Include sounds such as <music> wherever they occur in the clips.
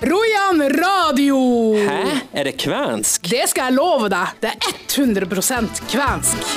Rojan radio! Hæ? Er det kvensk? Det skal jeg love deg. Det er 100 kvensk.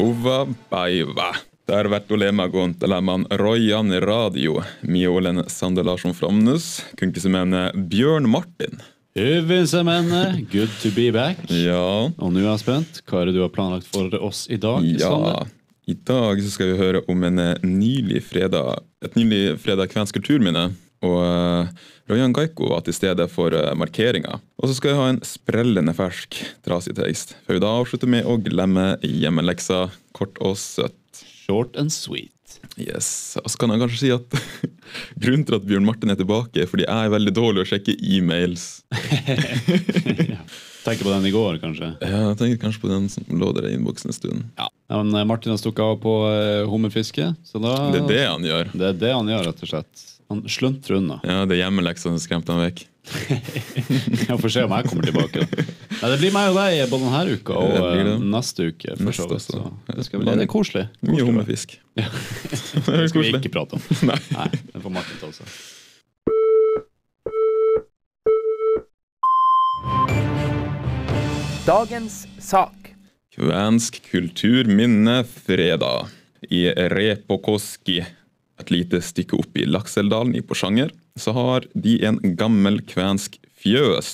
Uva päivä. Tervetulemaan kuuntelemaan Rojan Radio. Minä olen Sander Larsson Framnus, kunkismännen Bjørn Martin. Uvinsemenne, good to be back. Ja, Og nå er jeg spent. Hva er det du har planlagt for oss i dag? ja. Sander? I dag så skal vi høre om en eh, nylig fredag, et nylig fredag kvensk kulturminne. Og eh, Rojan Gaiko var til stede for eh, markeringa. Og så skal vi ha en sprellende fersk trasig tekst, før vi da avslutter med å glemme hjemmeleksa kort og søtt. Short and sweet. Yes, og så kan jeg kanskje si at <laughs> Grunnen til at Bjørn Martin er tilbake, er fordi jeg er veldig dårlig å sjekke e-mails. Tenker på den i går, kanskje. Ja, Jeg tenker kanskje på den som lå der i innboksen en stund. Ja. Men eh, Martin har stukket av på eh, hummerfiske, så da Det er det han gjør. Det er det han gjør, rett og slett. Han sluntrer unna. Ja, Det er hjemmeleksene som skremte han vekk. Jeg får se om jeg kommer <laughs> tilbake. da. Nei, det blir meg og deg både denne uka og Det blir eh, det. neste uke. For så Neste vidt. Så også. det, skal bli, det er koselig. Mye hummerfisk. <laughs> Ja. Det er Det skal vi koselig. ikke prate om. Nei. Nei, det får Martin ta seg. Dagens sak. Kvensk kulturminne fredag. I Repokoski, et lite stykke opp i Lakseldalen i Porsanger, så har de en gammel kvensk fjøs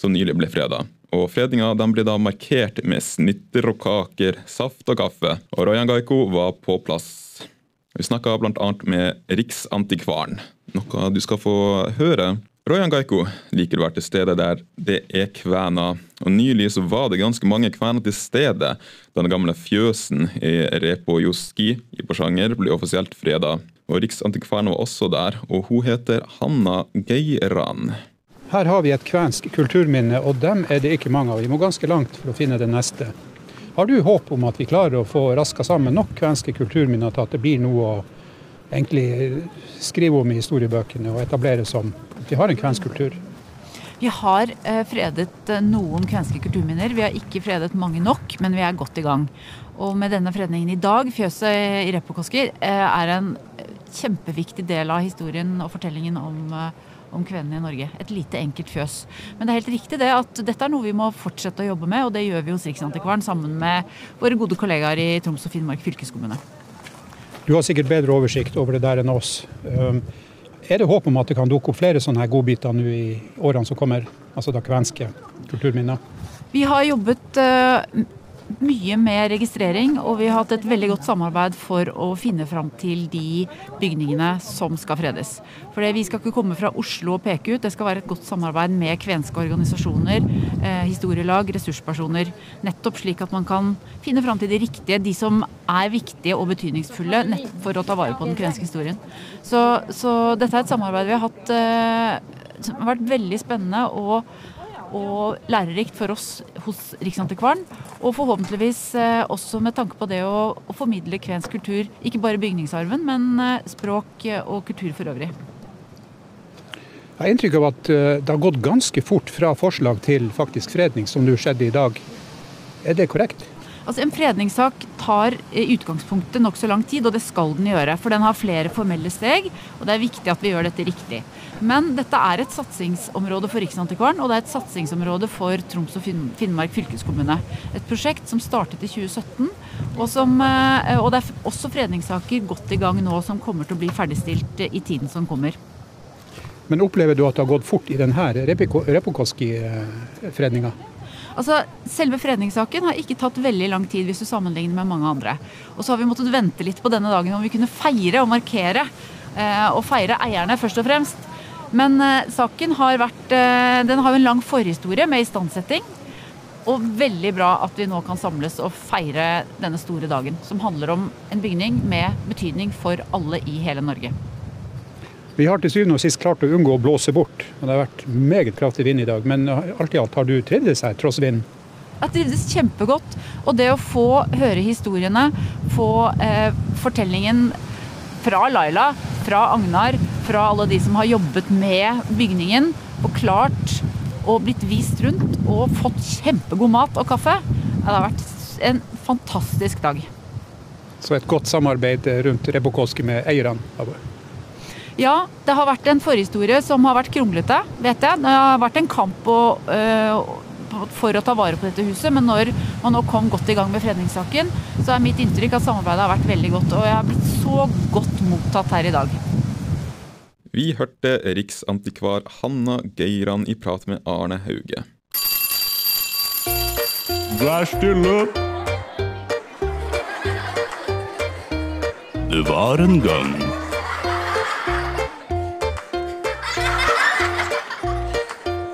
som nylig ble freda. Og fredninga den ble da markert med snitter og kaker, saft og kaffe. Og Rojan Gaiko var på plass. Vi snakka bl.a. med Riksantikvaren, noe du skal få høre. Royan Gaiko liker å være til stede der det er kvener, og nylig så var det ganske mange kvener til stede da den gamle fjøsen i Repojoski i Porsanger ble offisielt freda. Og Riksantikvaren var også der, og hun heter Hanna Geiran. Her har vi et kvensk kulturminne, og dem er det ikke mange av. Vi må ganske langt for å finne det neste. Har du håp om at vi klarer å få raska sammen nok kvenske kulturminner til at det blir noe å egentlig skrive om i historiebøkene og etablere som at vi har en kvensk kultur? Vi har eh, fredet eh, noen kvenske kulturminner. Vi har ikke fredet mange nok, men vi er godt i gang. Og med denne fredningen i dag, fjøset i Repokoski, eh, er en eh, kjempeviktig del av historien og fortellingen om, eh, om kvenene i Norge. Et lite, enkelt fjøs. Men det er helt riktig det at dette er noe vi må fortsette å jobbe med, og det gjør vi hos Riksantikvaren sammen med våre gode kollegaer i Troms og Finnmark fylkeskommune. Du har sikkert bedre oversikt over det der enn oss. Um, Er det håp om at det kan dukke opp flere sånne her godbiter nå i årene som kommer? Altså da kvenske kulturminner? Vi har jobbet eh, m- mye med registrering, og vi har hatt et veldig godt samarbeid for å finne fram til de bygningene som skal fredes. For det- vi skal ikke komme fra Oslo og peke ut, det skal være et godt samarbeid med kvenske organisasjoner, eh, historielag, ressurspersoner. Nettopp slik at man kan finne fram til de riktige, de som er viktige og betydningsfulle nett for å ta vare på den kvenske historien. Så, så dette er et samarbeid vi har hatt eh, som har vært veldig spennende. og og lærerikt for oss hos Riksantikvaren. Og forhåpentligvis eh, også med tanke på det å, å formidle kvensk kultur, ikke bare bygningsarven, men eh, språk eh, og kultur for øvrig. Jeg har inntrykk av at eh, det har gått ganske fort fra forslag til faktisk fredning, som nå skjedde i dag. Er det korrekt? Altså En fredningssak tar i utgangspunktet nokså lang tid, og det skal den gjøre. For den har flere formelle steg, og det er viktig at vi gjør dette riktig. Men dette er et satsingsområde for Riksantikvaren, og det er et satsingsområde for Troms og Finn- Finnmark fylkeskommune. Et prosjekt som startet i 2017, og, som, eh, og det er f- også fredningssaker godt i gang nå som kommer til å bli ferdigstilt eh, i tiden som kommer. Men opplever du at det har gått fort i denne Repokoski-fredninga? Altså, Selve fredningssaken har ikke tatt veldig lang tid hvis du sammenligner med mange andre. Og så har vi måttet vente litt på denne dagen om vi kunne feire og markere. eh, Og feire eierne, først og fremst. Men eh, saken har vært eh, Den har jo en lang forhistorie med istandsetting. Og veldig bra at vi nå kan samles og feire denne store dagen. Som handler om en bygning med betydning for alle i hele Norge. Vi har til syvende og sist klart å unngå å blåse bort. og Det har vært meget kraftig vind i dag, men eh, alt i alt har du trivdes her tross vind. Jeg trivdes kjempegodt. Og det å få høre historiene, få eh, fortellingen fra Laila, fra Agnar, fra alle de som har jobbet med bygningen, og klart og blitt vist rundt og fått kjempegod mat og kaffe, ja, det har vært en fantastisk dag. eh, Så et godt samarbeid rundt Repokoski med eierne. Ja, det har vært en forhistorie som har vært kronglete, vet jeg. Det har vært en kamp å, øh, for å ta vare på dette huset, men når man nå kom godt i gang med fredningssaken, så er mitt inntrykk at samarbeidet har vært veldig godt. Og jeg har blitt så godt mottatt her i dag. Vi hørte riksantikvar Hanna Geiran i prat med Arne Hauge. Vær stille! Det var en gang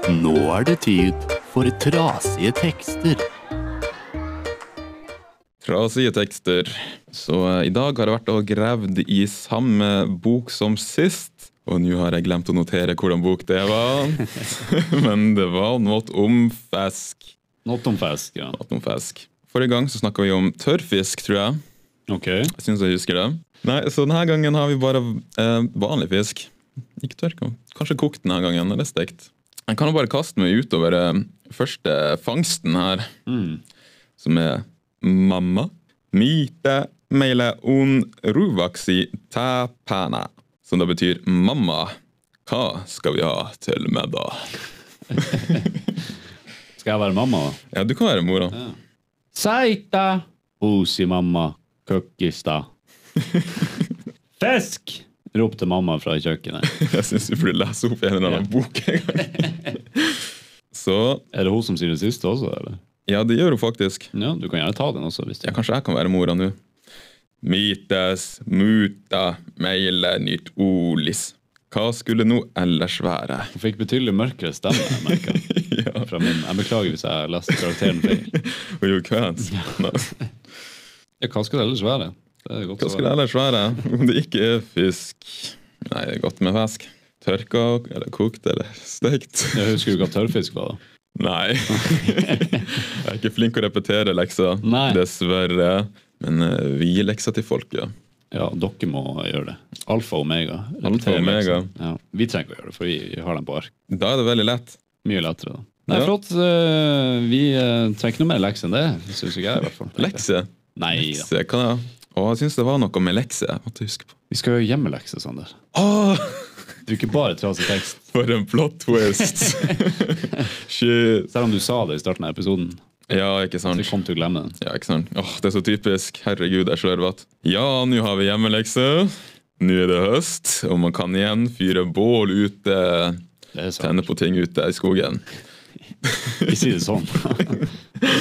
Nå er det tid for trasige tekster. Trasige tekster. Så eh, i dag har jeg vært og gravd i samme bok som sist. Og nå har jeg glemt å notere hvordan bok det var. <laughs> Men det var noe om fisk. Not om fisk, ja. Noe om fisk. Forrige gang så snakka vi om tørrfisk, tror jeg. Ok. Jeg syns jeg husker det. Nei, Så denne gangen har vi bare eh, vanlig fisk. Ikke tørka. Kanskje kokt denne gangen, eller stekt. Jeg kan jo bare kaste meg utover eh, første fangsten her, som er mamma. Mite meile un ruvaksi ta pana. Som da betyr mamma. Hva skal vi ha til middag? Skal jeg være mamma? Ja, du kan være mora. Seita! Osi mamma. Køkkista. Fisk! Ropte mamma fra kjøkkenet. <laughs> Jeg syns du burde lese opp en eller annen bok en gang. Så Er det hun som sier det siste også, eller? Ja, det gjør hun faktisk. Ja, du kan gjerne ta den også, hvis du Ja, kanskje jeg kan være mora nå. Mites, muta, meile, nytt olis. Hva skulle nå ellers være? Hun fikk betydelig mørkere stemme, jeg <laughs> merker. Fra min, jeg beklager hvis jeg leste karakteren feil. Og jo, kvensk. Nei, Ja, hva skal det ellers være? Det er godt Hva å skulle det være. ellers være? Om det ikke er fisk Nei, det er godt med fisk. Tørka eller kokt eller stekt? Jeg husker du hva tørrfisk var? da? Nei. <laughs> Jeg er ikke flink å repetere lekser, Nei. dessverre. Men eh, vi gir lekser til folket. Ja, dere må gjøre det. Alfa og omega. Alfa og omega. Ja, vi trenger ikke å gjøre det, for vi har dem på ark. Da er det veldig lett. Mye lettere, da. Nei, Ja. flott. eh, Vi eh, trenger ikke noe mer lekser enn det, syns ikke jeg. i hvert fall. Lekse. Nei da. Lekse, hva da? Å, jeg syns det var noe med lekse. Jeg måtte huske på. Vi skal gjøre hjemmelekser, Sander. Åh! Du er ikke bare trasig tekst. For en plot <laughs> twist! Shit. Selv om du sa det i starten av episoden. Ja, ikke sant. Vi kom til å glemme den. Ja, ikke sant? Åh, det er så typisk. Herregud, jeg er slørvete. Ja, nå har vi hjemmelekse. Nå er det høst, og man kan igjen fyre bål ute. Det er sant. Tenne på ting ute i skogen. Vi sier det sånn. <laughs>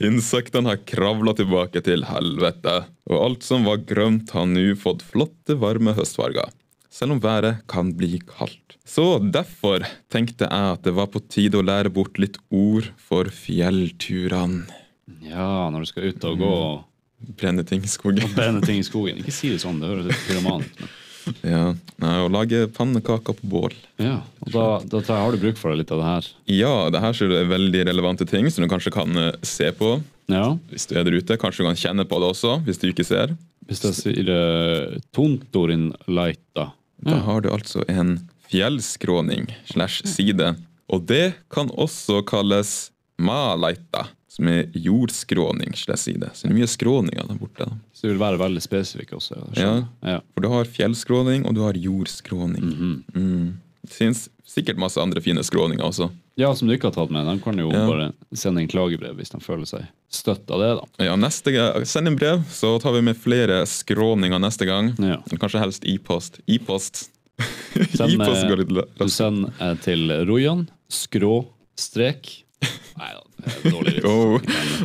Insektene har kravla tilbake til helvete, og alt som var grønt, har nå fått flotte, varme høstfarger. Selv om været kan bli kaldt. Så derfor tenkte jeg at det var på tide å lære bort litt ord for fjellturene. Ja, når du skal ut og gå og Brenne ting i skogen. brenne ting i skogen. Ikke si det sånn, det høres litt pyroman ut. men- Ja. Nei, og lage pannekaker på bål. Ja, og da, da tar, har du bruk for litt av det her. Ja, det her ser du er veldig relevante ting som du kanskje kan eh, se på Ja, hvis du er der ute. Kanskje du kan kjenne på det også, hvis du ikke ser. Hvis jeg sier eh, Tontorin Laita. Da Mm. har du altså en fjellskråning slash side. Og det kan også kalles malaita, som er jordskråning slash side. Så det er mye skråninger der borte. da. Så du vil være veldig spesifikk også. jeg skjønner. ja. For du har fjellskråning, og du har jordskråning. Mm. Det finnes sikkert masse andre fine skråninger også. ja, som du ikke har tatt med. De kan jo Ja. bare sende inn klagebrev hvis de føler seg støtt av det. da. Ja, neste gang, Send en brev, så tar vi med flere skråninger neste gang. Ja. Men Kanskje helst e-post. E-post <laughs> Send, E-post eh, går litt Du raskt. sender eh, til Rojan. Skråstrek. Nei da, det er <laughs> dårlig vits. Oh,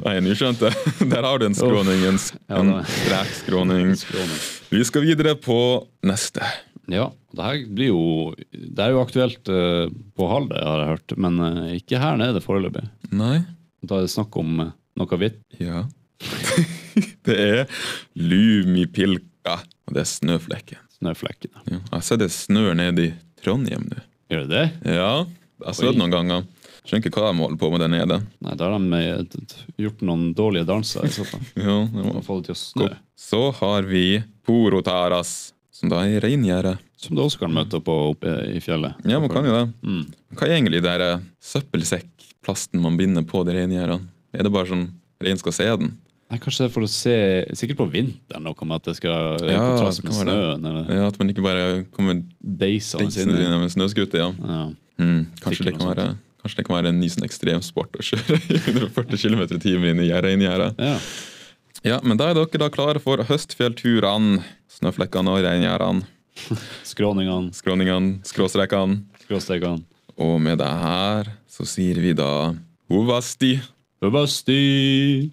nei, nå skjønte jeg. <laughs> Der har du en skråning. En, sk- Ja, en da. strekskråning. <laughs> Skråning. Vi skal videre på neste. Ja, det her blir jo Det er jo aktuelt eh, på Halde, har jeg hørt, men eh, ikke her nede foreløpig. Nei? Da er det snakk om eh, noe hvitt. <laughs> Ja. Det er lumipilka. Og det er snøflekken. Snøflekkene. Ja. Jeg har sett det snør nede i Trondheim nå. Gjør det det? Ja, jeg har sett det noen ganger. Skjønner ikke hva de holder på med der nede. Nei, da har de eh, t- t- gjort noen dårlige danser. i så fall. <laughs> Ja, det Og må fått det til å snø. Så har vi porotaras, som da er reingjerde. Som du også kan møte på oppe i fjellet. Ja, man kan jo det. Hva er egentlig det der eh, søppelsekkplasten man binder på de reingjerdene? Er det bare sånn rein skal se den? Nei, kanskje det er for å se Sikkert på vinteren noe om at det skal ja, Ja, på trass det med kan være det. snøen. Eller Ja, At man ikke bare kommer deisene deisende sine. inn med snøscooter. Ja. Ja. Mm, kanskje, Sikkert det kan noe være, kanskje det kan være en ny sånn ekstremsport å kjøre i 140 km i timen inn i gjerdet. inn i gjerdet. Ja. Ja, men da er dere da klare for høstfjellturene. Snøflekkene og reingjerdene. Skråningene, Skråningene, skråstrekene. skråstekene. Og med det her så sier vi da Hovasti. Bubasti!